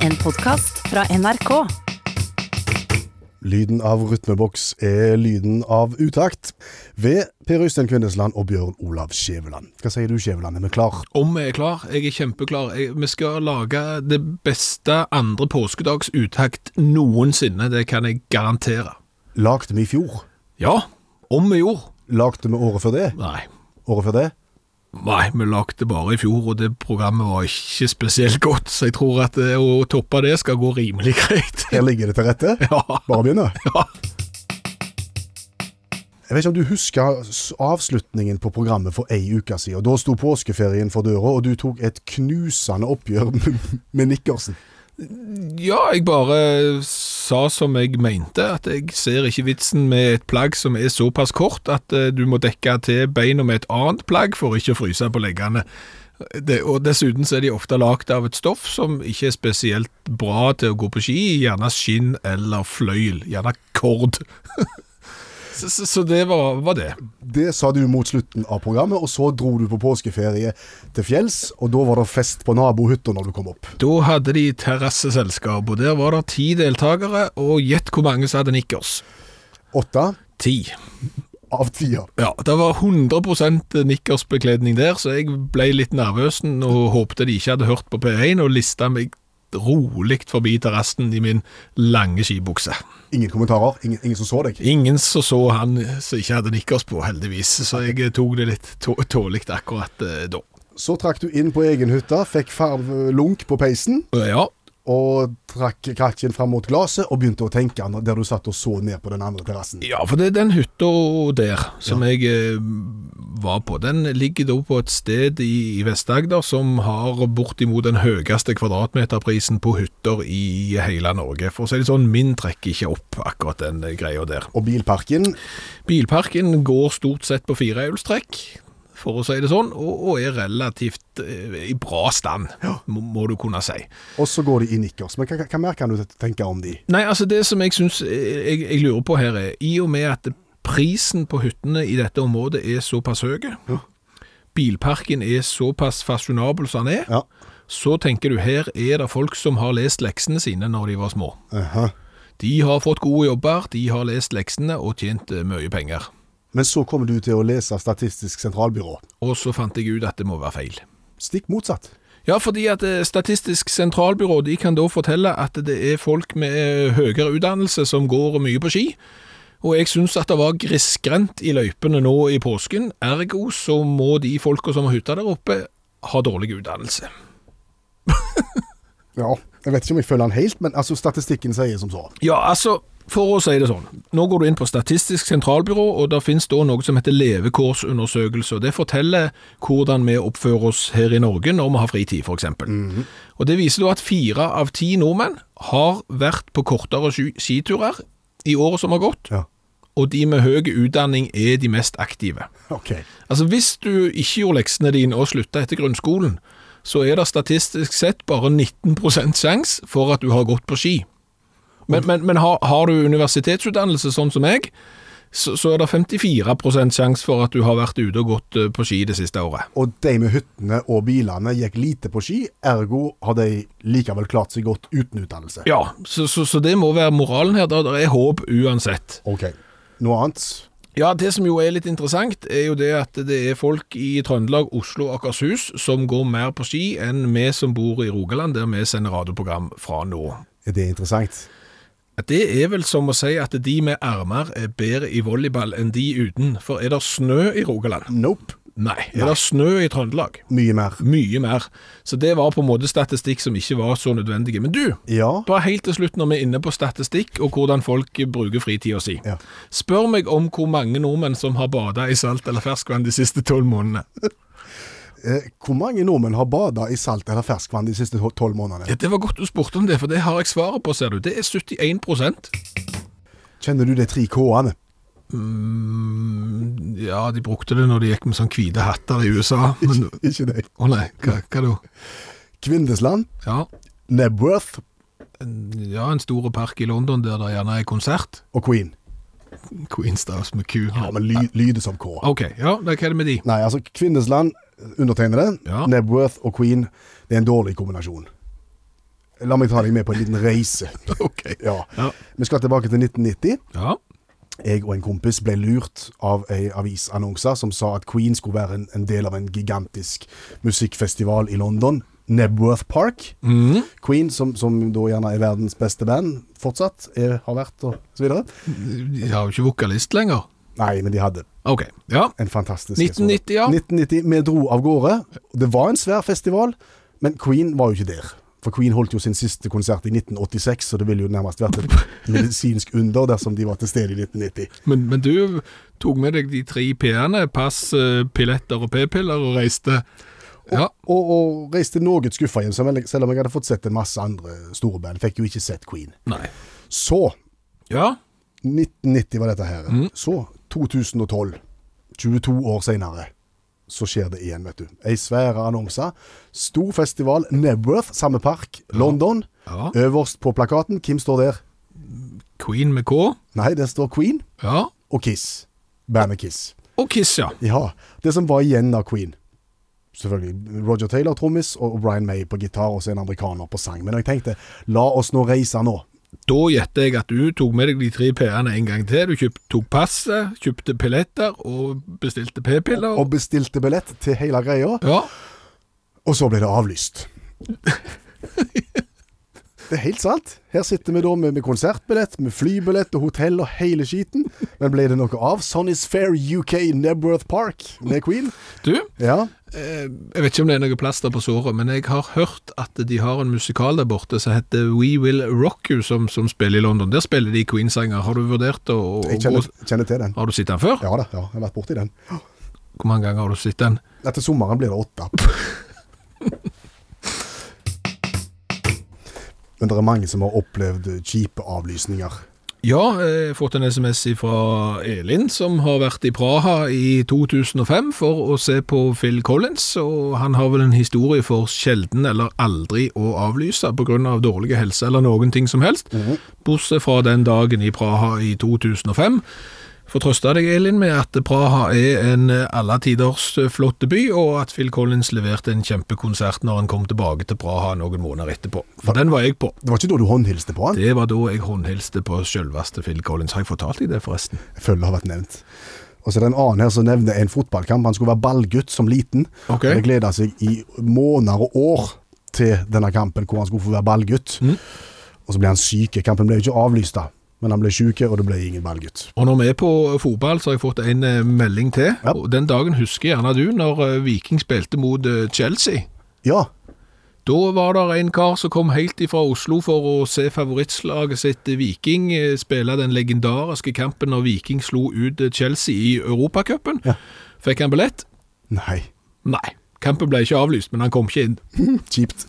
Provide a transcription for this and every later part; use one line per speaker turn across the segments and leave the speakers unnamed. En podkast fra NRK.
Lyden av rytmeboks er lyden av utakt. Ved Per Øystein Kvindesland og Bjørn Olav Skjæveland. Hva sier du, Skjæveland? Er vi klar?
Om jeg er klar? Jeg er kjempeklar. Jeg, vi skal lage det beste andre påskedags uttakt noensinne, det kan jeg garantere.
Lagde vi i fjor?
Ja, om vi gjorde.
Lagde vi året før det?
Nei.
Året før det?
Nei, vi lagde bare i fjor, og det programmet var ikke spesielt godt, så jeg tror at eh, å toppe det skal gå rimelig greit.
Her ligger det til rette.
Ja.
Bare begynne.
ja.
Jeg vet ikke om du husker s- avslutningen på programmet for ei uke siden. Da sto påskeferien for døra, og du tok et knusende oppgjør med- med Nikkersen.
ja, jeg bare sa som jeg mente, at jeg ser ikke vitsen med et plagg som er såpass kort at eh, du må dekke til beina med et annet plagg for ikke å fryse på leggene. Det, og dessuten så er de ofte lagd av et stoff som ikke er spesielt bra til å gå på ski i, gjerne skinn eller fløyel, gjerne kord. så, så, så det var, var det.
Det sa du mot slutten av programmet, og så dro du på påskeferie til fjells, og da var det fest på nabohytta når du kom opp.
Da hadde de terrasseselskap, og der var det ti deltakere, og gjett hvor mange som hadde nikkers.
Åtte
Ti.
av ti. ja.
Ja, det var 100 nikkersbekledning der, så jeg ble litt nervøs og håpte de ikke hadde hørt på P1 og lista meg rolig forbi terrassen i min lange skibukse.
Ingen kommentarer? Ingen, ingen som så deg?
Ingen som så han som ikke hadde nikkers på, heldigvis, så jeg eh, tok det litt tå tålig akkurat eh, da.
Så trakk du inn på egen hytte, fikk farv lunk på peisen,
Ja,
og trakk kakken fram mot glasset og begynte å tenke når- der du satt og så ned på den andre terrassen.
Ja, for det er den hytta der som jeg eh, var på. Den ligger da på et sted i, i Vest-Agder som har bortimot den høyeste kvadratmeterprisen på hytter i hele Norge. For å si det sånn, min trekker ikke opp akkurat den eh, greia der.
Og bilparken
Bilparken går stort sett på firehjulstrekk, for å si det sånn, og, og er relativt eh, i bra stand, må, må du kunne si.
Og så går de i nikkers. Men hva, hva- hva mer kan du tenke om de?
Nei, altså det som jeg syns jeg, jeg lurer på her er, i og med at prisen på hyttene i dette området er såpass høy, bilparken er såpass fasjonabel som den er,
Ja.
så tenker du her er det folk som har lest leksene sine når de var små.
Aha.
De har fått gode jobber, de har lest leksene og tjent eh, mye penger.
Men så kommer du til å lese Statistisk sentralbyrå.
Og så fant jeg ut at det må være feil.
Stikk motsatt.
Ja, fordi at eh, Statistisk sentralbyrå de kan da fortelle at det er folk med eh, høyere utdannelse som går mye på ski. Og jeg syns at det var grisgrendt i løypene nå i påsken, ergo så må de folka som har hytta der oppe, ha dårlig utdannelse.
Ja. Jeg vet ikke om jeg følger den helt, men altså, statistikken sier som så.
Ja, altså, for å si det sånn. Nå går du inn på Statistisk sentralbyrå, og der finnes da noe som heter levekårsundersøkelse. og Det forteller hvordan vi oppfører oss her i Norge når vi har fritid, f.eks. Og Det viser da at fire av ti nordmenn har vært på kortere ski- skiturer i året som har gått,
Ja.
og de med høy utdanning er de mest aktive.
Ok.
Altså, hvis du ikke gjorde leksene dine og slutta etter grunnskolen, så er det statistisk sett bare 19 sjanse for at du har gått på ski. Men, men, men har, har du universitetsutdannelse, sånn som meg, så, så er det 54 sjanse for at du har vært ute og gått eh, på ski det siste året.
Og de med hyttene og bilene gikk lite på ski, ergo har de likevel klart seg godt uten utdannelse.
Ja, så, så, så det må være moralen her. Det er håp uansett.
Ok. Noe annet?
Ja, det som jo er litt interessant, er jo det at det er folk i Trøndelag, Oslo og Akershus som går mer på ski enn vi som bor i Rogaland, der vi sender radioprogram fra nå.
Er det interessant?
Det er vel som å si at de med ermer er bedre i volleyball enn de uten, for er det snø i Rogaland?
Nope.
Nei. Er det snø i Trøndelag?
Mye mer.
Mye mer. Så det var på en måte statistikk som ikke var så nødvendige. Men du,
Ja.
bare helt til slutt når vi er inne på statistikk og hvordan folk bruker fritida si.
Ja.
Spør meg om hvor mange nordmenn som har bada i salt eller ferskvann de siste tolv månedene.
Eh, hvor mange nordmenn har bada i salt eller ferskvann de siste tolv månedene?
Ja, det var godt du spurte om det, for det har jeg svaret på, ser du. Det er 71
Kjenner du de tre K-ene?
Mm, Ja, de brukte det når de gikk med sånn hvite hatter i USA. Men,
Ikke de.
å nei, hva, hva da?
Kvindesland,
Ja,
Nebworth
en- ja, en stor park i London der det gjerne er konsert.
og Queen.
Queen's Stars med Q.
Ja, men ly, lyder som K.
Ok, ja, da, hva er det med de?
Nei, altså Kvindesland, undertegnede,
Ja.
Nebworth og Queen, det er en dårlig kombinasjon. La meg ta deg med på en liten reise.
Ok.
Ja.
Ja.
Vi skal tilbake til 1990.
Ja.
Jeg og en kompis ble lurt av ei avisannonse som sa at Queen skulle være en, en del av en gigantisk musikkfestival i London. Nebworth Park.
Mm.
Queen, som, som da gjerne er verdens beste band fortsatt, er, har vært og så videre.
De har jo ikke vokalist lenger.
Nei, men de hadde
Ok. Ja.
en fantastisk
1990, ja.
1990, Vi dro av gårde. Det var en svær festival, men Queen var jo ikke der. For Queen holdt jo sin siste konsert i 1986, så det ville jo nærmest vært et medisinsk under dersom de var til stede i 1990.
Men, men du tok med deg de tre p-ene, pass, eh, pilletter og p-piller, og reiste. Ja.
Og, og reiste noe skuffa hjem, selv om jeg- selv om jeg hadde fått sett en masse andre store band. Fikk jo ikke sett Queen.
Nei.
Så
Ja.
1990 var dette her.
Mm.
Så 2012, 22 år senere, så skjer det igjen, vet du. Ei svære annonse. Stor festival, Nebworth, samme park, London.
ja.
Øverst på plakaten, hvem står der?
Queen med K.
Nei, der står Queen
Ja.
og Kiss. Bandet Kiss.
Og Kiss, ja.
Ja, det som var igjen av Queen. Selvfølgelig Roger Taylor trommis og Brian May på gitar, og så en amerikaner på sang. Men jeg tenkte, la oss nå reise nå.
Da gjetter jeg at du tok med deg de tre p-ene en gang til. Du kjøpt, tok passet, kjøpte pilletter og bestilte p-piller.
Og bestilte billett til hele greia.
Ja.
Og så ble det avlyst. Det er helt sant. Her sitter vi da med, med konsertbillett, med flybillett og hotell og hele skiten. Men ble det noe av? Son is fair UK Nebworth Park med Queen?
Du,
Ja.
eh, jeg vet ikke om det er noe plaster på såret, men jeg har hørt at de har en musikal der borte som heter We Will Rock You, som, som spiller i London. Der spiller de Queen-sanger. Har du vurdert å, å
Jeg
gå
kjenner, kjenner til den.
Har du sett den før?
Ja da, ja, jeg har vært borti den.
Hvor mange ganger har du sett den?
Etter sommeren blir det åtte. Men det er mange som har opplevd kjipe avlysninger.
Ja, jeg har fått en SMS fra Elin, som har vært i Praha i 2005 for å se på Phil Collins, og han har vel en historie for sjelden eller aldri å avlyse på grunn av dårlig helse eller noen ting som helst, bortsett fra den dagen i Praha i 2005. Får trøste deg, Elin, med at Praha er en eh, alle tiders eh, flotte by, og at Phil Collins leverte en kjempekonsert når han kom tilbake til Praha noen måneder etterpå. For den var jeg på.
Det var ikke da du håndhilste på han?
Det var da jeg håndhilste på selveste Phil Collins. Har jeg fortalt deg det, forresten?
Jeg føler det har vært nevnt. Og så er det en annen her som nevner en fotballkamp. Han skulle være ballgutt som liten.
Ok.
Og det gleda seg i måneder og år til denne kampen hvor han skulle få være ballgutt.
Mm.
Og så ble han syk. Kampen ble jo ikke avlyst, da. Men han ble syk, og det ble ingen ballgutt.
Og når vi er på fotball, så har jeg fått en eh, melding til.
Ja.
Og den dagen husker gjerne du, når eh, Viking spilte mot eh, Chelsea.
Ja,
Da var det en kar som kom helt ifra Oslo for å se favorittslaget sitt eh, Viking eh, spille den legendariske kampen når Viking slo ut eh, Chelsea i Europacupen.
Ja.
Fikk han billett?
nei.
Nei. Kampen ble ikke avlyst, men han kom ikke inn.
Kjipt.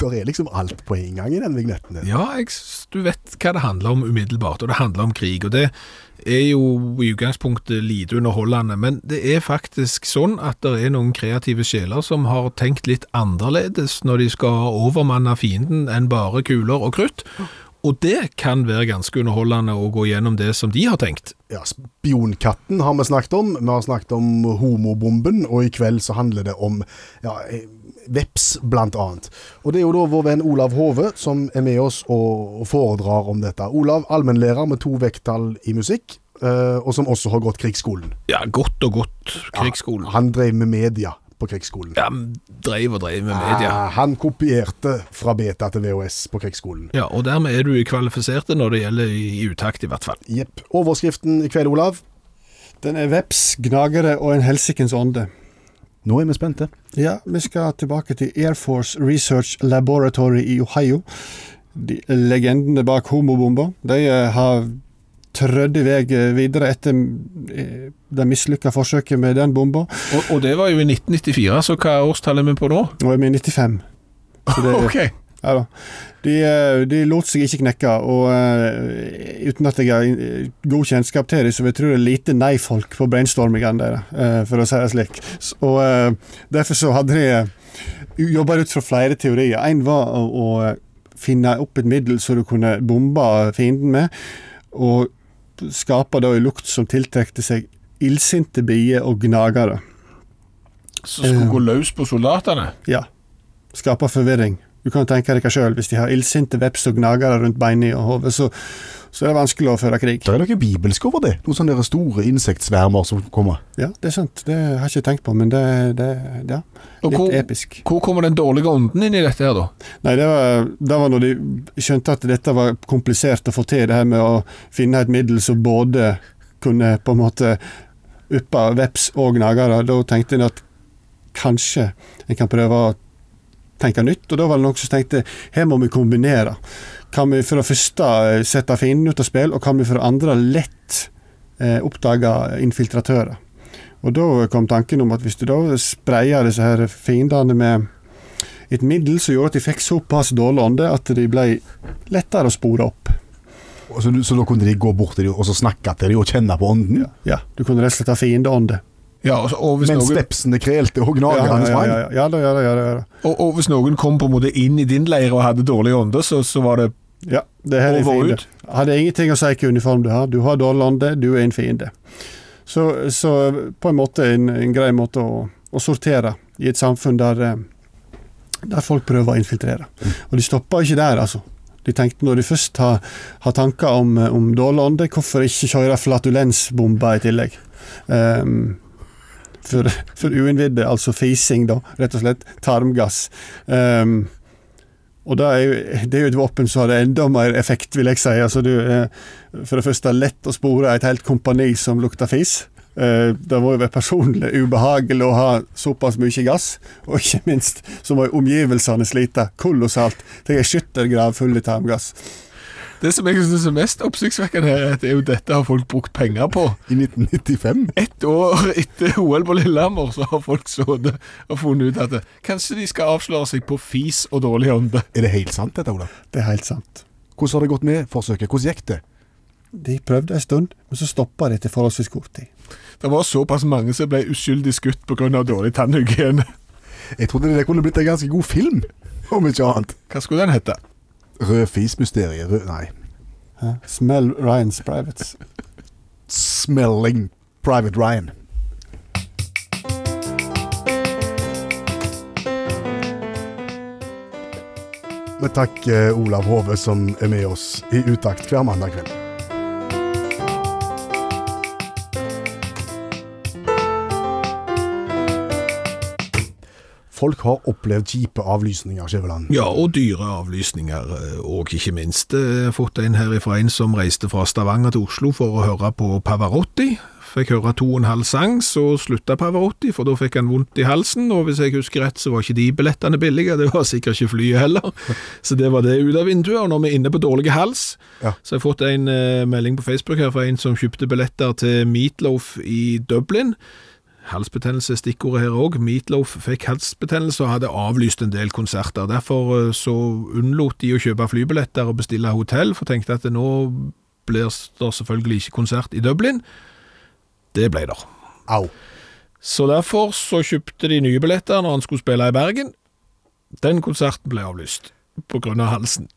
Det er liksom alt på en gang i den vignetten. din.
Ja, jeg, s- du vet hva det handler om umiddelbart, og det handler om krig. Og det er jo i utgangspunktet lite underholdende, men det er faktisk sånn at det er noen kreative sjeler som har tenkt litt annerledes når de skal overmanne fienden enn bare kuler og krutt. Og det kan være ganske underholdende å gå gjennom det som de har tenkt.
Ja, Spionkatten har vi snakket om. Vi har snakket om homobomben, og i kveld så handler det om ja, eh, veps, blant annet. Og det er jo da vår venn Olav Hove som er med oss og og foredrar om dette. Olav, allmennlærer med to vekttall i musikk, eh, og som også har gått krigsskolen.
Ja, godt og godt krigsskolen.
Han drev med media på krigsskolen.
Ja, dreiv og dreiv med media.
Ah, han kopierte fra beta til VHS på krigsskolen.
Ja, og dermed er du kvalifiserte når det gjelder i i utakt, i hvert fall.
Jepp. Overskriften i kveld, Olav?
Den er veps, gnagere og en helsikens ånde.
Nå er vi spente.
Ja, vi skal tilbake til Air Force Research Laboratory i Ohio. De legendene bak homobomba. De eh, har trødd i vei eh, videre etter eh, det mislykka forsøket med den bomba.
Og, og det var jo i 1994, så hva årstall er vi på nå?
Nå er vi i 95. Så det,
Ok.
Ja da. De, eh, de lot seg ikke knekke, og eh, uten at jeg har eh, god kjennskap til dem, så vil jeg tro det er lite nei-folk på brainstormingene deres, eh, for å si det slik. S- Og eh, derfor så hadde de jobba ut fra flere teorier. En var å, å finne opp et middel som du kunne bombe fienden med, og skape da en lukt som tiltrekte seg illsinte bier og gnagere.
Som
Eh.
skulle gå løs på soldatene.
Ja. Skape forvirring. Du kan tenke deg sjøl, hvis de har illsinte veps og gnagere rundt beina og hodet, så, så er det vanskelig å føre krig.
Det er noe bibelsk over det. Noen sånne der store insektsvermer som kommer.
Ja, det er sant. Det har jeg ikke tenkt på, men det, det ja.
Og
Litt
hvor,
episk.
hvor kommer den dårlige ånden inn i dette her, da?
Nei, det var, det var når de skjønte at dette var komplisert å få til, det her med å finne et middel som både kunne på en måte uppe veps og gnagere. Da tenkte en at kanskje en kan prøve å tenke nytt, og da var det noen som tenkte her må vi kombinere. Kan vi for det første eh, sette fienden ut av spill, og kan vi for det andre lett eh, oppdage infiltratører? Og da kom tanken om at hvis du da sprayer disse her fiendene med et middel som gjorde at de fikk såpass dårlig ånde at de ble lettere å spore opp.
Og Så, så da kunne de gå bort til dem og så snakke til dem og kjenne på ånden?
Ja, Du kunne rett og slett ha fiendeånde.
Ja, og, og, hvis
Mens
noen,
vepsene krelte og
Ja,
gnagerne
ja, ja,
sprang?
ja, ja, da, ja, da, ja, da, ja, da.
og, og hvis noen kom på en måte inn i din leir og hadde dårlig ånde, så, så var det
ja det her er en
Over og
fiende.
ut.
Hadde ingenting å si hvilken uniform du har. Du har dårlig ånde, du er en fiende. Så, så på en måte en, en grei måte å, å sortere i et samfunn der, eh, der folk prøver å infiltrere. Og de stopper ikke der, altså. De tenkte når de først har, har tanker om, eh, om dårlig ånde, hvorfor ikke kjøre flatulensbomber i tillegg? Ehm, for, for uinnvidde, altså fising, da, rett og slett. Tarmgass. Ehm, og det er, jo, det er jo et våpen som har enda mer effekt, vil jeg si. Altså, du, eh, for det første lett å spore et helt kompani som lukter fis. Eh, det må jo være personlig ubehagelig å ha såpass mye gass, og ikke minst så må jo omgivelsene slite kolossalt. Tenk ei skyttergrav full av tarmgass.
Det som jeg synes er mest oppsiktsvekkende her, er at det er jo dette har folk brukt penger på.
I 1995?
Ett år etter OL på Lillehammer så har folk sittet og funnet ut at det- kanskje de skal avsløre seg på fis og dårlig ånde.
Er det helt sant dette, Olav?
Det er helt sant.
Hvordan har det gått med forsøket? Hvordan gikk det?
De prøvde en stund, men så stoppa de etter forholdsvis kort tid.
Det var såpass mange som ble uskyldig skutt pga. dårlig tannhygiene.
Jeg trodde det kunne blitt en ganske god film, om ikke annet.
Hva skulle den hete?
Rød fis-mysteriet. Rød Nei.
Hæ? Smell Ryans Privates.
Smelling Private Ryan. Men takk eh, Olav Hove som er med oss i Utakt hver mandag kveld. Folk har opplevd kjipe avlysninger, Skjæveland.
Ja, og dyre avlysninger, eh, og ikke minst eh, fått en her ifra en som reiste fra Stavanger til Oslo for å høre på Pavarotti. Fikk høre to og en halv sang, så slutta Pavarotti, for da fikk han vondt i halsen. Og hvis jeg husker rett, så var ikke de billettene billige, det var sikkert ikke flyet heller. Så det var det ut av vinduet. Og når vi er inne på dårlig hals,
Ja.
så jeg har fått en eh, melding på Facebook her fra en som kjøpte billetter til Meatloaf i Dublin. Halsbetennelse er stikkordet her òg. Meatloaf fikk halsbetennelse og hadde avlyst en del konserter. Derfor eh, så unnlot de å kjøpe flybilletter og bestille hotell, for tenkte at nå blir det selvfølgelig ikke konsert i Dublin. Det ble der.
Au.
Så derfor så kjøpte de nye billetter når han skulle spille i Bergen. Den konserten ble avlyst på grunn av halsen.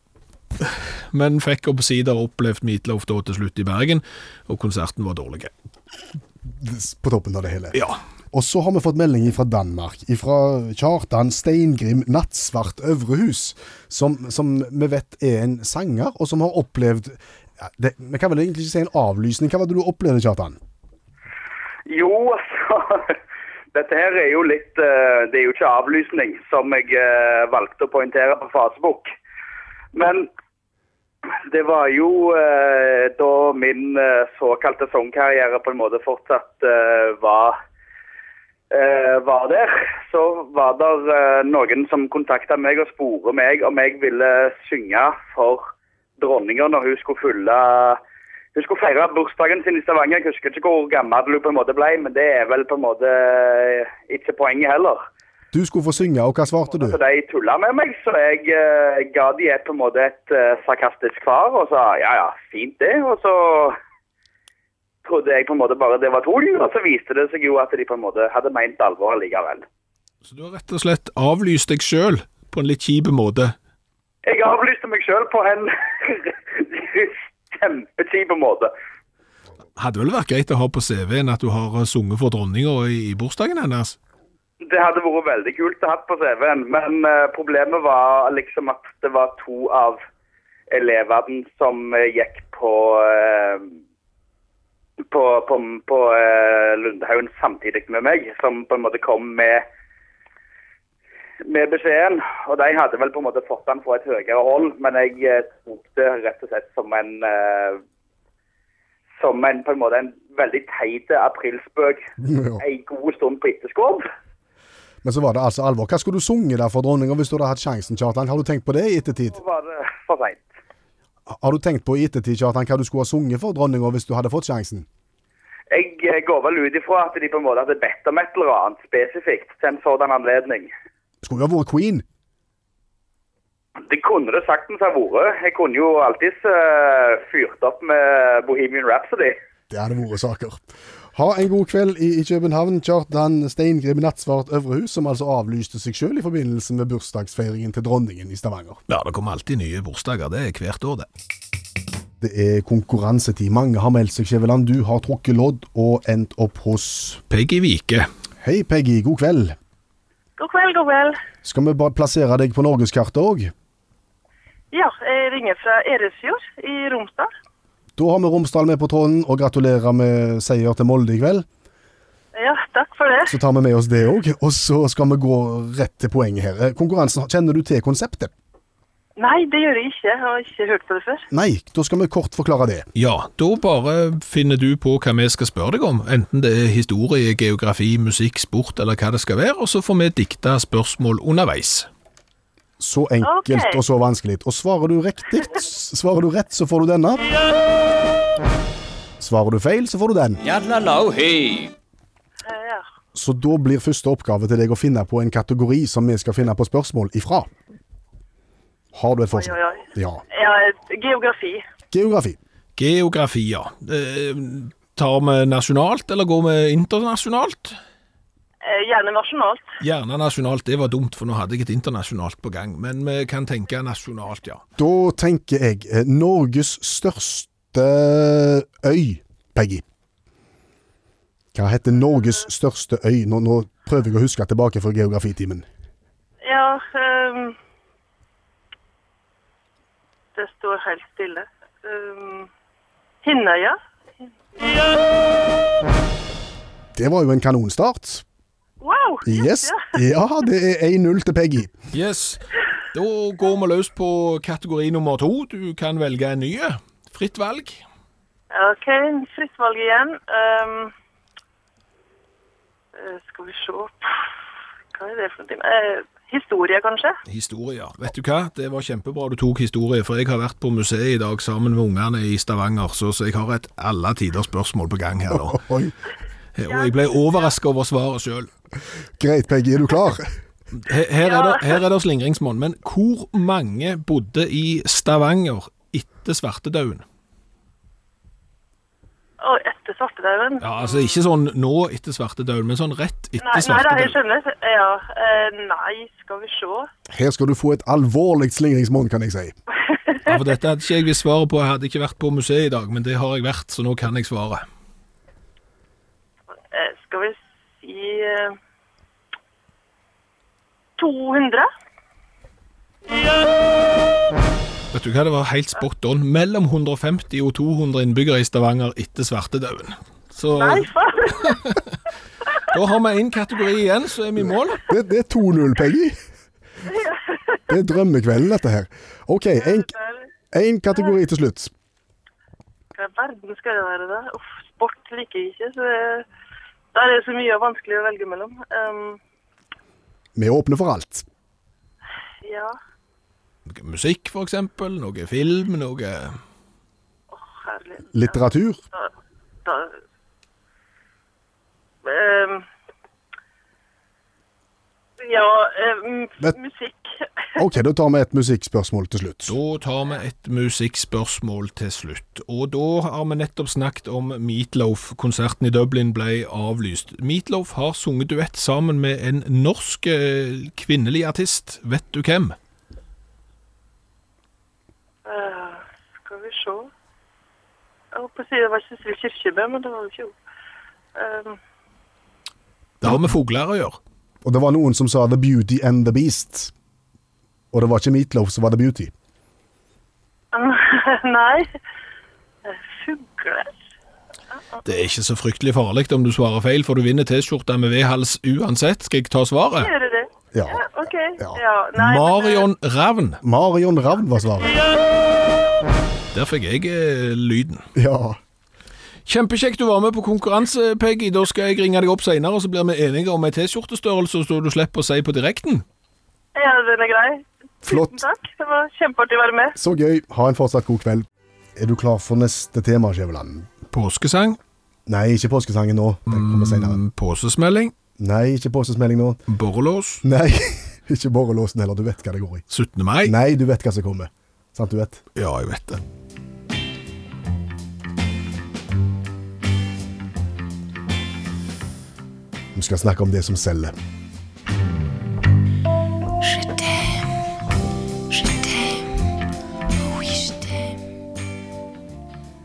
Men fikk omsider opplevd Meatloaf da til slutt i Bergen, og konserten var dårlig.
På toppen av det hele.
Ja.
Og så har vi fått melding fra Danmark, fra Kjartan Steingrim Nattsvart Øvrehus, som, som vi vet er en sanger, og som har opplevd ja, det, Vi kan vel egentlig ikke si en avlysning. Hva var det du opplevde, Kjartan?
Jo, altså Dette her er jo litt eh, Det er jo ikke avlysning, som jeg eh, valgte å poengtere på Facebook. Men det var jo eh, da min eh, såkalte sangkarriere på en måte fortsatt eh, var eh, var der, så var det noen som kontakta meg og spurte meg om jeg ville synge for dronninga når hun skulle fylle Hun skulle feire bursdagen sin i Stavanger. Jeg husker ikke hvor gammel hun på en måte ble, men det er vel på en måte eh, ikke poenget heller.
Du skulle få synge, og hva svarte du?
Så de tulla med meg, så jeg eh, ga de et, på en måte et eh, sarkastisk svar og sa ja ja, fint det. Og så trodde jeg på en måte bare det var tull, og så viste det seg jo at de på en måte hadde meint alvor likevel.
Så du har rett og slett avlyst deg sjøl på en litt kjip måte.
Jeg avlyste meg sjøl på en kjempetid på en måte.
Hadde vel vært greit å ha på CV-en at du har eh, sunget for dronninga i, i bursdagen hennes?
Det hadde vært veldig kult å ha på CV-en, men eh, problemet var liksom at det var to av elevene som eh, gikk på eh, på, på, på eh, Lundhaugen samtidig med meg, som på en måte kom med med beskjeden, og de hadde vel på en måte fått den fra et høyere hold, men jeg eh, tok det rett og slett som en eh, som en på en måte en veldig teit aprilspøk
Ja.
en god stund på etterskåp.
Men så var det altså alvor. Hva skulle du sunget der for dronninga hvis du hadde hatt sjansen, Kjartan? Har du tenkt på det i ettertid?
Så var det for seint.
Har du tenkt på i ettertid, Kjartan, hva du skulle ha sunget for dronninga hvis du hadde fått sjansen?
Jeg eh, går vel ut ifra at de på en måte hadde bedt om et eller annet spesifikt til en sådan anledning.
Skulle jo ha vært queen.
Det kunne det saktens ha vært. Jeg kunne jo alltids eh, fyrt opp med Bohemian Rhapsody.
Det hadde vært saker. Ha en god kveld i, i København, Kjartan Steingrim Nattsvart Øvrehus, som altså avlyste seg sjøl i forbindelse med bursdagsfeiringen til dronningen i Stavanger.
Ja, det kommer alltid nye bursdager. Det er hvert år, det.
Det er konkurransetid. Mange har meldt seg, Skjæveland. Du har trukket lodd og endt opp hos
Peggy Vike.
Hei, Peggy. God kveld.
God kveld, god kveld.
Skal vi bare plassere deg på norgeskartet òg?
Ja, jeg ringer fra Eresfjord i Romsdal.
Da har vi Romsdal med på tråden, og gratulerer med seier til Molde i kveld.
Ja, takk for det.
Så tar vi med oss det òg, og så skal vi gå rett til poenget her. Eh, Konkurransen, kjenner du til konseptet?
Nei, det gjør jeg ikke. Jeg har ikke hørt på det før.
Nei, da skal vi kort forklare det.
Ja, da bare finner du på hva vi skal spørre deg om, enten det er historie, geografi, musikk, sport eller hva det skal være, og så får vi dikta spørsmål underveis.
Så enkelt
Ok.
og så vanskelig. Og svarer du riktig, s- svarer du rett, så får du denne. Svarer du feil, så får du den.
Eh, Ja.
Så da blir første oppgave til deg å finne på en kategori som vi skal finne på spørsmål ifra. Har du et forslag?
Oi, oi, oi.
Ja.
ja, geografi.
Geografi.
Geografi, ja. Eh, tar vi nasjonalt, eller går vi internasjonalt?
Eh, Gjerne nasjonalt.
Gjerne nasjonalt, det var dumt, for nå hadde jeg et internasjonalt på gang, men vi kan tenke nasjonalt, ja.
Da tenker jeg eh, Norges største øy, Peggy. Hva heter Norges største øy? Nå, nå prøver jeg å huske tilbake fra geografitimen.
Ja, ehm, det står helt stille. Um, Hinnøya.
Det var jo en kanonstart.
Wow!
Yes.
Ja.
Ja, det er 1-0 til Peggy.
Yes, da går vi løs på kategori nummer to. Du kan velge en ny. Fritt valg.
Ok, fritt valg igjen. Ehm, eh, skal vi se Hva er det for noe? Eh, historie, kanskje?
Historier. Vet du hva, det var kjempebra du tok historie, for jeg har vært på museet i dag sammen med ungene i Stavanger, så, så jeg har et alle tider spørsmål på gang her nå.
Oi.
Og jeg ble overraska over svaret sjøl.
Greit, Peggy. Er du klar?
Her, her, er det- her er det slingringsmonn, men hvor mange bodde i Stavanger etter svartedauden?
Og etter svartedauden?
Ja, altså ikke sånn nå etter svartedauden, men sånn rett etter
Nei, nei da, jeg
svartedauden.
skjønner. Ja, eh, nei, skal vi se.
Her skal du få et alvorlig slingringsmonn, kan jeg si.
Ja, for dette hadde ikke jeg visst svaret på, jeg hadde ikke vært på museet i dag, men det har jeg vært, så nå kan jeg svaret.
Eh, skal vi si eh, 200?
Vet du hva, det var helt spot on. Mellom 150 og 200 innbyggere i Stavanger etter svartedauden. Så
Nei, faen!
da har vi én kategori igjen, så er vi i mål.
Det, det er 2-0, Peggy. Det er drømmekvelden, dette her. OK, en, en kategori til slutt.
Hva i verden skal det være, da? Uff, sport liker jeg ikke. Så det- der er det så mye vanskelig å velge mellom. Ehm,
Vi åpner for alt.
ja,
Noe musikk, for eksempel. Noe film, noe
herlig.
Litteratur.
Da Ehm, Ja, ehm,
Vet-
musikk.
OK, da tar vi et musikkspørsmål til slutt.
Da tar vi et musikkspørsmål til slutt. Og da har vi nettopp snakket om Meatloaf. Konserten i Dublin ble avlyst. Meatloaf har sunget duett sammen med en norsk eh, kvinnelig artist. Vet du hvem?
Eh, skal vi se Jeg holdt på å si det var Sissel Kirkebø, men det var jo ikke hun. Eh,
Det har med fugler å gjøre.
Og det var noen som sa The Beauty and the Beast. Og det var ikke Meatloaf som var The Beauty.
nei. Eh, Fugler?
Det er ikke så fryktelig farlig om du svarer feil, for du vinner T-skjorta med V-hals uansett. Skal jeg ta svaret?
Gjør det det?
Ja.
Ja, OK.
Ja.
Ja. Nei, men, eh,
Marion Ravn.
Marion Ravn var svaret.
Der fikk jeg eh, lyden.
Ja.
Kjempekjekt du var med på konkurranse, Peggy. Da skal jeg ringe deg opp senere, og så blir vi enige om en T-skjortestørrelse, så du slipper å si på direkten.
Ja, den er grei.
Flott.
Tusen takk. Det var kjempeartig å være med.
Så gøy. Ha en fortsatt god kveld. Er du klar for neste tema, Skjæveland?
Påskesang,
Nei, ikke påskesangen nå. Den kommer senere.
mm, påsesmelling,
Nei, ikke påskesmelding nå.
borrelås,
Nei, ikke borrelåsen heller. Du vet hva det går i.
17. mai.
Nei, du vet hva som kommer. Sant, du vet?
Ja, jeg vet det.
Vi skal snakke om det som selger.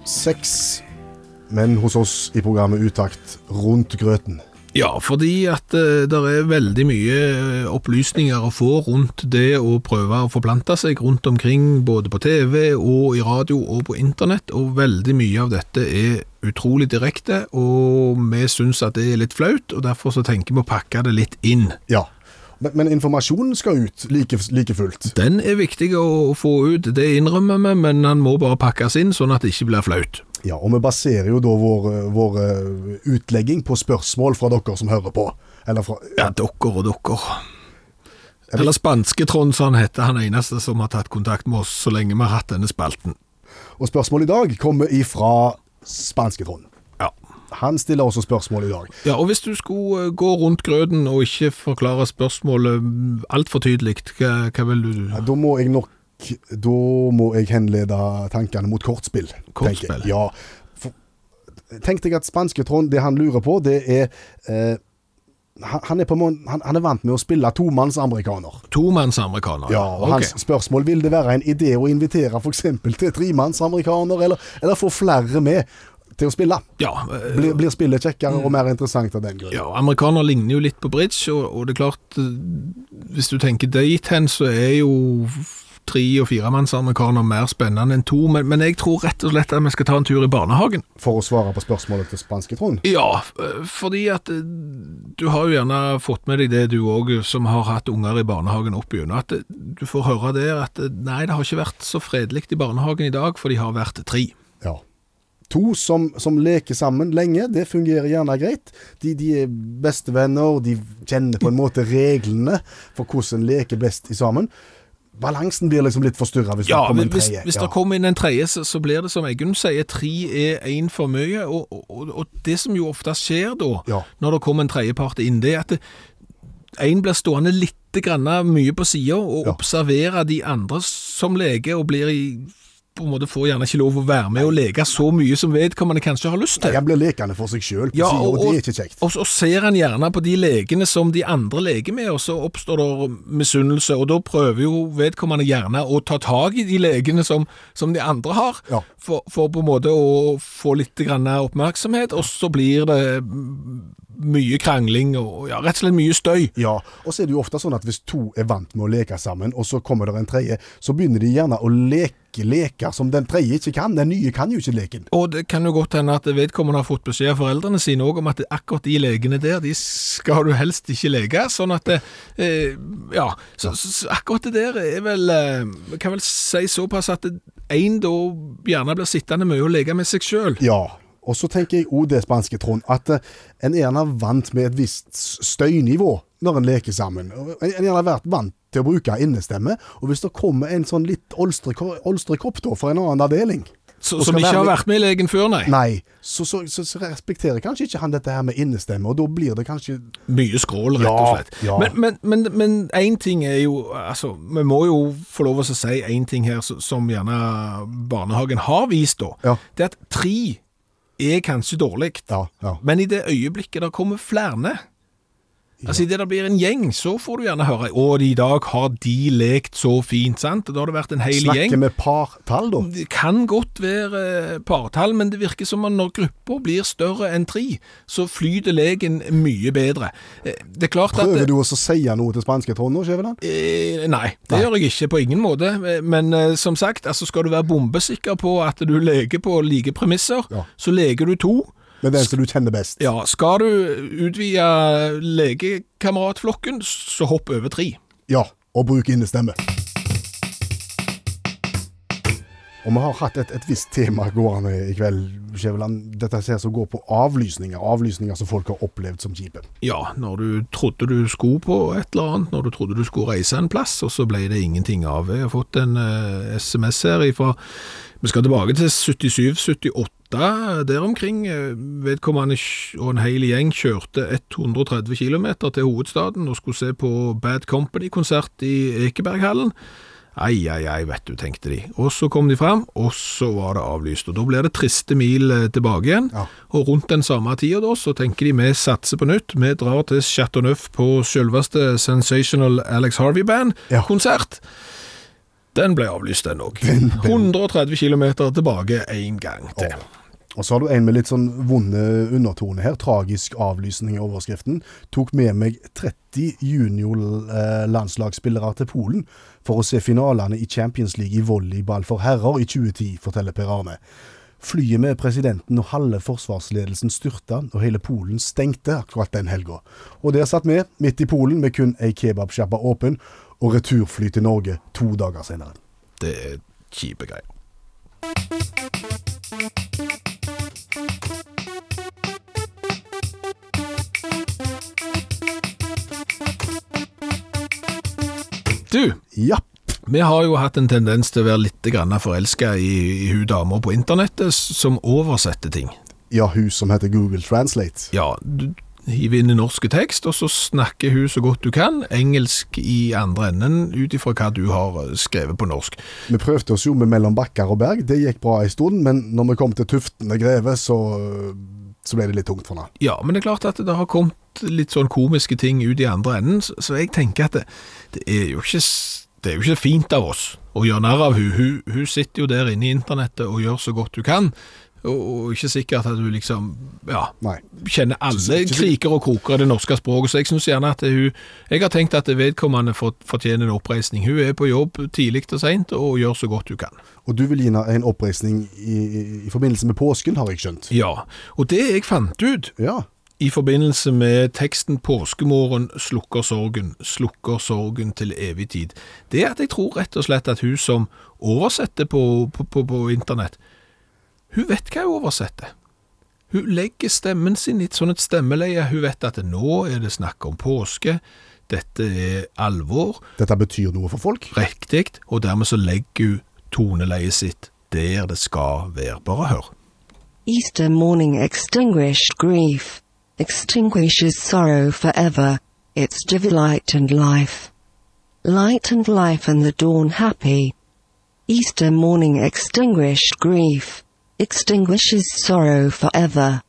Sex, men hos oss i programmet Utakt rundt grøten.
Ja, fordi at det er veldig mye eh, opplysninger å få rundt det å prøve å forplante seg rundt omkring, både på TV og i radio og på internett, og veldig mye av dette er utrolig direkte, og vi syns at det er litt flaut, og derfor så tenker vi å pakke det litt inn.
Ja. Men, men informasjonen skal ut like, like fullt.
Den er viktig å å få ut, det innrømmer vi, men han må bare pakkes inn sånn at det ikke blir flaut.
Ja, og vi baserer jo da vår, vår eh, utlegging på spørsmål fra dere som hører på. Eller fra
Ja, dere og dere. Eller spanske Trond, som han heter, han eneste som har tatt kontakt med oss så lenge vi har hatt denne spalten.
Og spørsmålet i dag kommer ifra spansketronen.
Ja.
Han stiller også spørsmål i dag.
ja, og hvis du skulle eh, gå rundt grøten og ikke forklare spørsmålet altfor tydelig, hva, hva vil du
Ja, Da må jeg nok Da må jeg henlede tankene mot kortspill. tenker jeg.
Kortspill.
Ja. For, tenk deg at spansketronen, det han lurer på, det er eh, han, han er på mån- han, han er vant med å spille tomannsamerikaner.
Tomannsamerikaner?
Ja, og
Ah, ok.
Hans spørsmål vil det være en idé å invitere f.eks. til tremannsamerikaner, eller, eller få flere med til å spille.
ja, eh,
Blir, blir spillet kjekkere og mer interessant av den grunn?
Ja, amerikaner ligner jo litt på bridge, og, og det er klart eh, Hvis du tenker dit hen, så er jo f- tre- og firemannsamerikaner mer spennende enn to, men, men jeg tror rett og slett at vi skal ta en tur i barnehagen.
For å svare på spørsmålet til spansketronen.
Ja, eh, fordi at eh, du har jo gjerne fått med deg det du òg, som har hatt unger i barnehagen opp igjennom, at eh, du får høre der at eh, nei, det har ikke vært så fredelig i barnehagen i dag, for de har vært tre.
Ja. To som, som leker sammen lenge, det fungerer gjerne greit. De, de er bestevenner, de kjenner på en måte reglene for hvordan en leker best i sammen. Balansen blir liksom litt forstyrra hvis
Ja,
det kommer
men
en
hvis,
tredje.
hvis det kommer inn en tredje, så, så blir det som Eggunn sier, tre er én for mye. Og, og, og det som jo ofte skjer da,
Ja.
når det kommer en tredjepart inn, det er at det- en blir stående litt grann mye på sida og
Ja.
observere de andre som leker, og blir i på en måte får gjerne ikke lov å være med og leke så mye som vedkommende kanskje har lyst til.
Han blir lekende for seg sjøl,
Ja,
og,
og-
det er ikke kjekt.
Og så ser han gjerne på de legene som de andre leker med, og så oppstår det misunnelse, og da prøver jo vedkommende gjerne å ta tak i de legene som, som de andre har,
Ja.
for, for på en måte å få litt grann oppmerksomhet, og så blir det mye krangling og ja, rett og slett mye støy.
Ja, og så er det jo ofte sånn at hvis to er vant med å leke sammen, og så kommer det en tredje, så begynner de gjerne å leke leker som den tredje ikke kan. Den nye kan jo ikke leken.
Og det kan jo godt hende at vedkommende har fått beskjed av foreldrene sine òg om at akkurat de legene der, de skal du helst ikke leke. Sånn at det, eh, Ja. Så, så, så akkurat det der er vel eh, Jeg kan vel si såpass at én da gjerne blir sittende mye og leke med seg sjøl.
Ja. Og så tenker jeg òg det, spanske Trond, at eh, en er gjerne vant med et visst s- støynivå når en leker sammen. Og En en er gjerne vært vant til å bruke innestemme, og hvis det kommer en sånn litt olstre ko- olstre kopp da, fra en annen avdeling
Som
Og skal
ikke har
være-
vært med i legen før, nei.
Nei, så, så, så, så respekterer kanskje ikke han dette her med innestemme, og da blir det kanskje
Mye skrål, rett og
Ja,
slett.
ja.
Men- Men én men, en ting er jo altså, Vi må jo få lov å si én ting her som, som gjerne barnehagen har vist, da.
Ja.
Det er at tre er kanskje dårlig.
Ja, ja.
Men i det øyeblikket der kommer flere, Altså, Idet det blir en gjeng, så får du gjerne høre Å, i dag har de lekt så fint, sant? Og Da har det vært en hel
Snakker
gjeng.
vi partall, da?
Det kan godt være eh, partall, men det virker som at når grupper blir større enn tre, så flyter leken mye bedre. Eh, Det er klart at
Prøver du også å si noe til spanske Trond nå, Skjæveland?
Eh, nei, det
Nei.
gjør jeg ikke på ingen måte. Eh, Men eh, som sagt, altså skal du være bombesikker på at du leker på like premisser,
Ja.
så leker du to.
Med den som du kjenner best?
Ja, skal du utvide lekekameratflokken, så hopp over tre.
Ja, og bruk innestemme. Og vi har hatt et, et visst tema gående i kveld, Skjæveland. Dette her som går på avlysninger. Avlysninger som folk har opplevd som kjipe.
Ja, når du trodde du skulle på et eller annet, når du trodde du skulle reise en plass, og så ble det ingenting av. Jeg har fått en eh, SMS her ifra Vi skal tilbake til 77-78, der omkring. Eh, Vedkommende kj- og en hel gjeng kjørte 130 km til hovedstaden og skulle se på Bad Company-konsert i Ekeberghallen. Ei, ei, ei, vet du, tenkte de. Og så kom de fram, og så var det avlyst. Og da blir det triste mil eh, tilbake igjen.
Ja.
Og rundt den samme tida da, så tenker de vi satser på nytt. Vi drar til Chateauneuf på selveste Sensational Alex
Ja.
Harvey Band-konsert. Den ble avlyst, den òg. 130 km tilbake en gang til.
Og så har du en med litt sånn vonde undertone her. Tragisk avlysning i overskriften. Tok med meg 30 junior-landslagsspillere til Polen for å se finalene i Champions League i volleyball for herrer i 2010, forteller Per Arne. Flyet med presidenten og halve forsvarsledelsen styrta, og hele Polen stengte akkurat den helga. Og der satt vi, midt i Polen, med kun ei kebabsjappa åpen, og returfly til Norge to dager senere.
Det er kjipe greier. Du,
Ja.
Vi har jo hatt en tendens til å være litt forelska i, i hun dama på internettet s- som oversetter ting.
Ja, hun som heter Google Translate.
Ja, du hiver inn i norske tekst, og så snakker hun så godt du kan, engelsk i andre enden, ut ifra hva du har eh, skrevet på norsk.
Vi prøvde oss jo med mellom bakker og berg, det gikk bra en stund, men når vi kom til Tuftene Greve, så, så ble det litt tungt for henne.
Ja, men det er klart at det har kommet litt sånn komiske ting ut i andre enden, så, så jeg tenker at det, det er jo ikke s- det er jo ikke fint av oss å gjøre narr av hun. hun. Hun sitter jo der inne i internettet og gjør så godt hun kan, og, og ikke sikkert at hun liksom Ja.
Nei.
kjenner alle
Ikke så-
kriker og kroker i det norske språket, så jeg synes gjerne at hun Jeg har tenkt at vedkommende fort- fortjener en oppreisning. Hun er på jobb tidlig og seint og gjør så godt hun kan.
Og du vil gi henne en oppreisning i, i forbindelse med påsken, har jeg skjønt.
Ja. Og det jeg fant ut
Ja.
i forbindelse med teksten 'Påskemorgen slukker sorgen, slukker sorgen til evig tid', det er at jeg tror rett og slett at hun som oversetter på, på, på, på internett, hun vet hva hun oversetter. Hun legger stemmen sin i et sånt et stemmeleie. Hun vet at nå er det snakk om påske, dette er alvor,
Dette betyr noe for folk.
riktig, og dermed så legger hun toneleiet sitt der det skal være. Bare hør.
Easter morning extinguished grief, extinguishes sorrow forever, its divine light and life. Light and life and the dawn happy. Easter morning extinguished grief, extinguishes sorrow forever.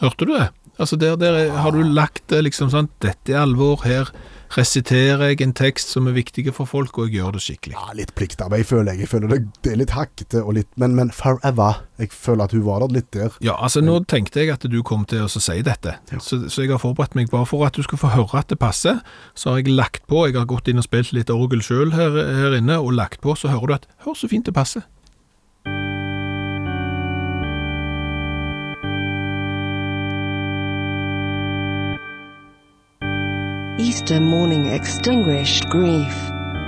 Hørte du det? Altså der, der er- har du lagt det liksom sånn, dette er alvor, her resiterer jeg en tekst som er viktig for folk, og jeg gjør det skikkelig.
Ja, litt pliktarbeid, føler jeg. Jeg føler det, det er litt hakkete og litt Men, men forever. Jeg føler at hun var der litt der.
Ja, altså nå tenkte jeg at du kom til å så si dette, så, så jeg har forberedt meg bare for at du skal få høre at det passer, så har jeg lagt på, jeg har gått inn og spilt litt orgel selv her, her inne, og lagt på, så hører du at, hør så fint det passer.
Easter morning extinguished grief,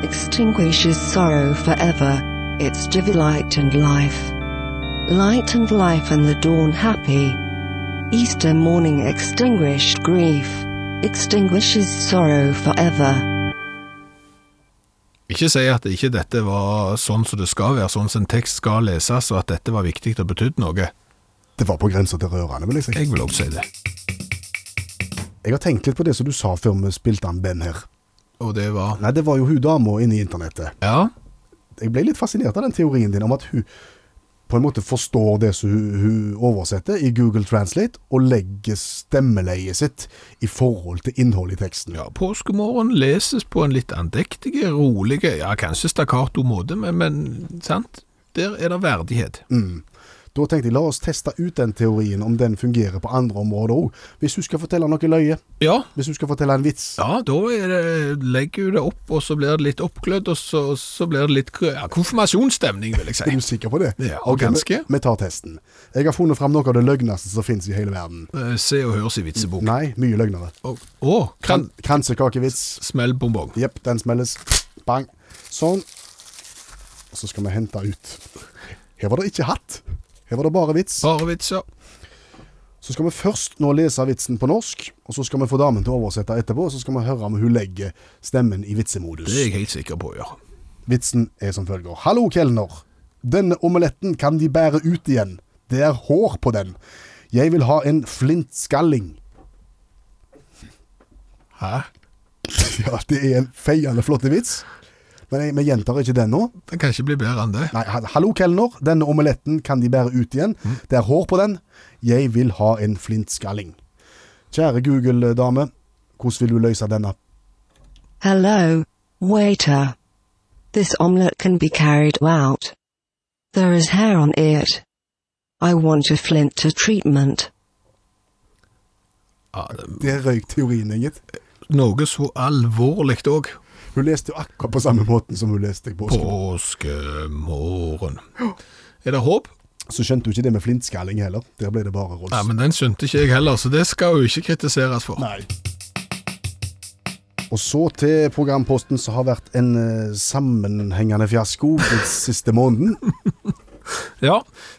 extinguishes sorrow forever, its divine light and life. Light and life and the dawn happy. Easter morning extinguished grief, extinguishes sorrow forever.
Ikke si at ikke dette var sånn som det skal være, sånn som en tekst skal leses, og at dette var viktig og betydde noe.
Det var på grensa til rørende, vil jeg si.
Jeg vil også si det.
Jeg har tenkt litt på det som du sa før vi spilte an Ben her.
Og det var,
Nei, det var jo hun dama inne i internettet.
ja,
jeg ble litt fascinert av den teorien din om at hun på en måte forstår det som hun, hun oversetter i Google Translate, og legger stemmeleiet sitt i forhold til innholdet i teksten.
Ja, påskemorgen leses på en litt andektig, rolig, ja, kanskje stakkato måte, men, men sant? Der er det verdighet.
Da tenkte jeg la oss teste ut den teorien, om den fungerer på andre områder òg. Hvis hun skal fortelle noe løye,
Ja,
hvis hun skal fortelle en vits.
Ja, da er det, legger hun det opp, og så blir det litt oppglødd, og så, så blir det litt ja, konfirmasjonsstemning, vil jeg
Er
si.
du sikker på det?
Ja,
Ok, vi-
ganske.
Vi tar testen. Jeg har funnet fram noe av det løgneste som finnes i hele verden.
Eh, Se og hør sin vitsebok.
Nei, mye løgnere.
Å, å, kan
Kran kransekakevits.
smell bonbong.
Jepp, den smelles. Bang. Sånn. Og så skal vi hente ut. Her var det ikke hatt. Her var det bare vits.
Bare vitser.
Så skal vi først nå lese vitsen på norsk, og så skal vi få damen til å oversette etterpå, og så skal vi høre om hun legger stemmen i
Det er
vitsemodus.
jeg helt sikker på å gjøre.
Vitsen er som følger. Hallo, kelner. Denne omeletten kan de bære ut igjen. Det er hår på den. Jeg vil ha en flintskalling.
Hæ?
Ja, det er en feiende flott vits. Men jeg, vi gjentar ikke den nå.
Det kan ikke bli bedre enn det.
Nei, ha- hallo, kelner. Denne omeletten kan de bære ut igjen. Det er hår på den. Jeg vil ha en flintskalling. Kjære Google-dame, hvordan vil du løse denne?
Hello, waiter. This omelette can be carried out. There is hair on it. I want a flint to treatment.
Ja, det er
Der røyk teorien, Inget.
noe så alvorlig òg.
Hun leste jo akkurat på samme måten som hun leste i påsken.
Påskemorgen. Er det håp?
Så skjønte hun ikke det med flintskalling heller. Der ble det bare rolls.
Nei, men den skjønte ikke jeg heller, så det skal hun ikke kritiseres for.
Nei. Og så til programposten som har vært en eh, sammenhengende fiasko den siste måneden.
Ja,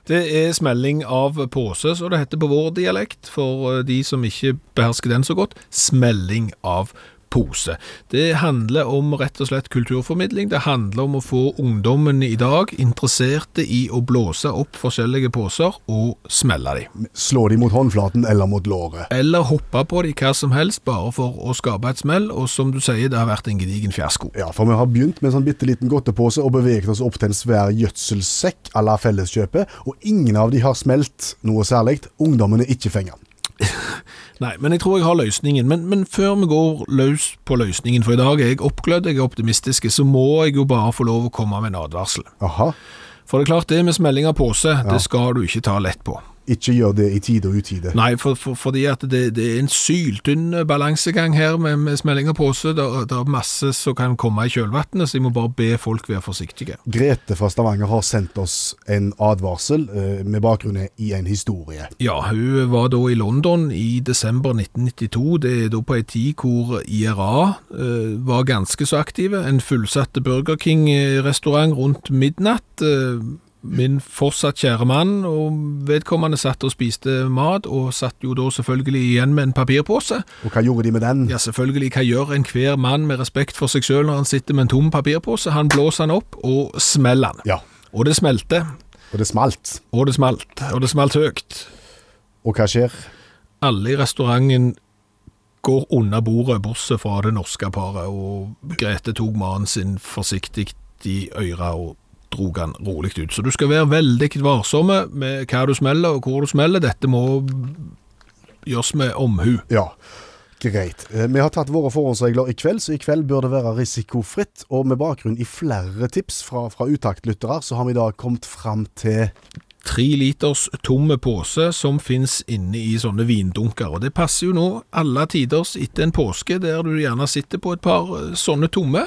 det er smelling av påse, så det heter på vår dialekt, for eh, de som ikke behersker den så godt, smelling av pose. Det handler om rett og slett kulturformidling, det handler om å få ungdommen i dag interesserte i å blåse opp forskjellige poser og smelle dem.
Slå de mot håndflaten eller mot låret.
Eller hoppe på dem hva som helst, bare for å skape et smell, og som du sier, det har vært en gedigen fiasko.
Ja, for vi har begynt med en sånn bitte liten godtepose og beveget oss opp til en svær gjødselsekk à la Felleskjøpet, og ingen av de har smelt noe særlig. Ungdommen er ikke fenga.
Nei, men jeg tror jeg har løsningen. Men, men før vi går løs på løsningen, for i dag er jeg oppglødd, jeg er optimistisk, så må jeg jo bare få lov å komme med en advarsel.
Aha,
For det er klart, det med smelling av pose, det skal du ikke ta lett på.
ikke gjør det i tide og utide.
Nei, for, for, fordi at det, det er en syltynn balansegang her med, med smelling av pose. Det er- det er masse som kan komme i kjølvannet, så jeg må bare be folk være forsiktige.
Grete fra Stavanger har sendt oss en advarsel eh, med bakgrunn i en historie.
Ja, hun var da i London i desember 1992. Det er da på ei tid hvor IRA eh, var ganske så aktive. En fullsatt Burger King-restaurant rundt midnatt. Eh, min fortsatt kjære mann og vedkommende satt og spiste mat, og satt jo da selvfølgelig igjen med en papirpose.
Og hva gjorde de med den?
Ja, selvfølgelig. Hva gjør enhver mann med respekt for seg sjøl når han sitter med en tom papirpose? Han blåser den opp og smeller den.
Ja,
Og det smelte.
og det smalt.
Og det smalt. Og det smalt høyt.
Og hva skjer?
alle i restauranten går under bordet, bortsett fra det norske paret, og Grete tok mannen sin forsiktig i øret og drog han rolig ut. Så du skal være veldig varsomme med hva du smeller og hvor du smeller. Dette må gjøres med omhu.
Ja, greit. Eh, Vi har tatt våre forhåndsregler i kveld, så i kveld bør det være risikofritt. Og med bakgrunn i flere tips fra, fra utaktlyttere, så har vi da kommet fram til
Tre liters tomme pose som finnes inne i sånne vindunker, og det passer jo nå alle tiders etter en påske der du gjerne sitter på et par eh, sånne tomme.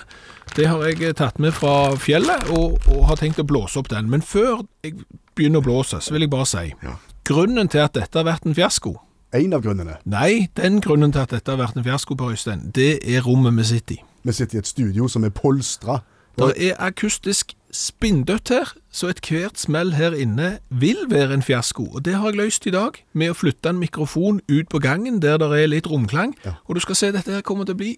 Det har jeg eh, tatt med fra fjellet og, og har tenkt å blåse opp den, men før jeg begynner å blåse, så vil jeg bare si, grunnen til at dette har vært en fiasko,
én av grunnene.
nei, den grunnen til at dette har vært en fiasko, Per Øystein, det er rommet vi sitter i.
Vi sitter i et studio som er polstra.
Det er akustisk spinndødt her, så ethvert smell her inne vil være en fiasko. Og det har jeg løst i dag med å flytte en mikrofon ut på gangen der det er litt romklang. Og du skal se, dette her kommer til å bli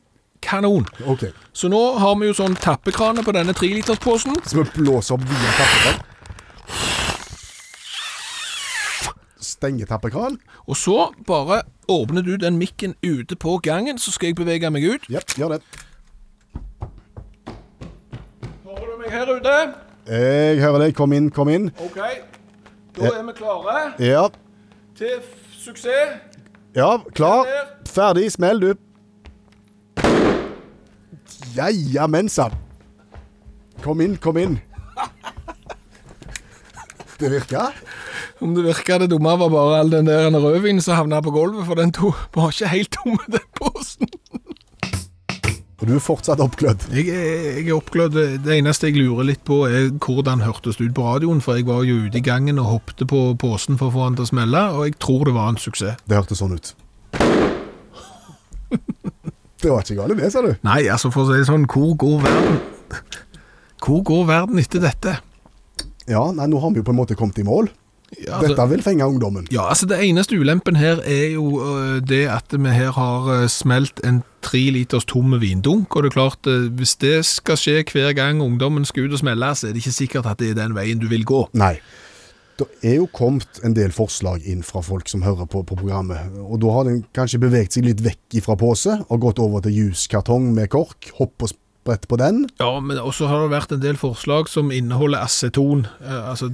kanon.
Ok,
Så nå har vi jo sånn tappekrane på denne trelitersposen.
Så vi blåser opp via tappekran. Stenger tappekran.
Og så bare åpner du den mikken ute på gangen, så skal jeg bevege meg ut.
Jepp, gjør det.
Hører du meg her ute?
Jeg hører deg. Kom inn, kom inn.
Ok. Da er vi klare
Ja,
til f- suksess.
ja klar, ferdig, smell, du. Jaja mensa. Kom inn, kom inn. Det virka.
Om det virka det dumme, var bare all den der rødvinen som havna på gulvet, for den to var ikke helt tom, den posen.
Og du er fortsatt oppglødd.
Jeg, er- jeg er oppglødd. Det eneste jeg lurer litt på, er hvordan hørtes det ut på radioen, for jeg var jo ute i gangen og hoppte på posen for å få den til å smelle, og jeg tror det var en suksess.
Det hørtes sånn ut. Det var ikke galt, det, sa du.
Nei, altså for å si det sånn, hvor går verden? Hvor går verden etter dette?
Ja, nei, nå har vi jo på en måte kommet i mål.
Ja, altså-
Dette vil fenge ungdommen.
Ja, altså det eneste ulempen her er jo øh, det at vi her har øh, smelt en tre liters tomme vindunk, og det er klart, øh, hvis det skal skje hver gang ungdommen skal ut og smelle, så er det ikke sikkert at det er den veien du vil gå.
Nei. Det er jo kommet en del forslag inn fra folk som hører på, på programmet, og da har den kanskje beveget seg litt vekk ifra pose og gått over til juskartong med kork, hopp og sprett på den.
Ja, men også har det vært en del forslag som inneholder aceton, eh, altså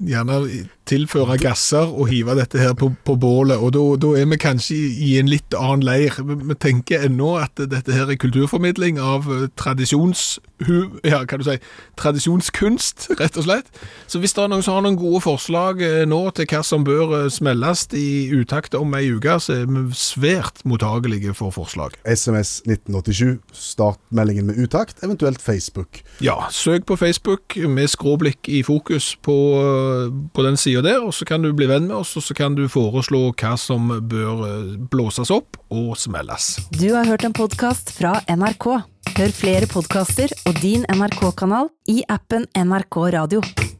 gjerne tilføre gasser og hive dette her på, på bålet, og da da er vi kanskje i, i en litt annen leir. Vi, vi tenker ennå at dette her er kulturformidling av eh, tradisjonshu... Ja, kan du si tradisjonskunst, rett og slett. Så hvis det er noen som har noen gode forslag eh, nå til hva som bør eh, smelles i utakt om ei uke, så er vi svært mottagelige for forslag.
SMS 1987, start meldingen med utakt, eventuelt Facebook.
Ja, søk på Facebook med skråblikk i fokus på, på den sida der, og så kan du bli venn med oss, og så kan du foreslå hva som bør eh, blåses opp og smelles.
Du har hørt en podkast fra NRK. Hør flere podkaster og din NRK-kanal i appen NRK Radio.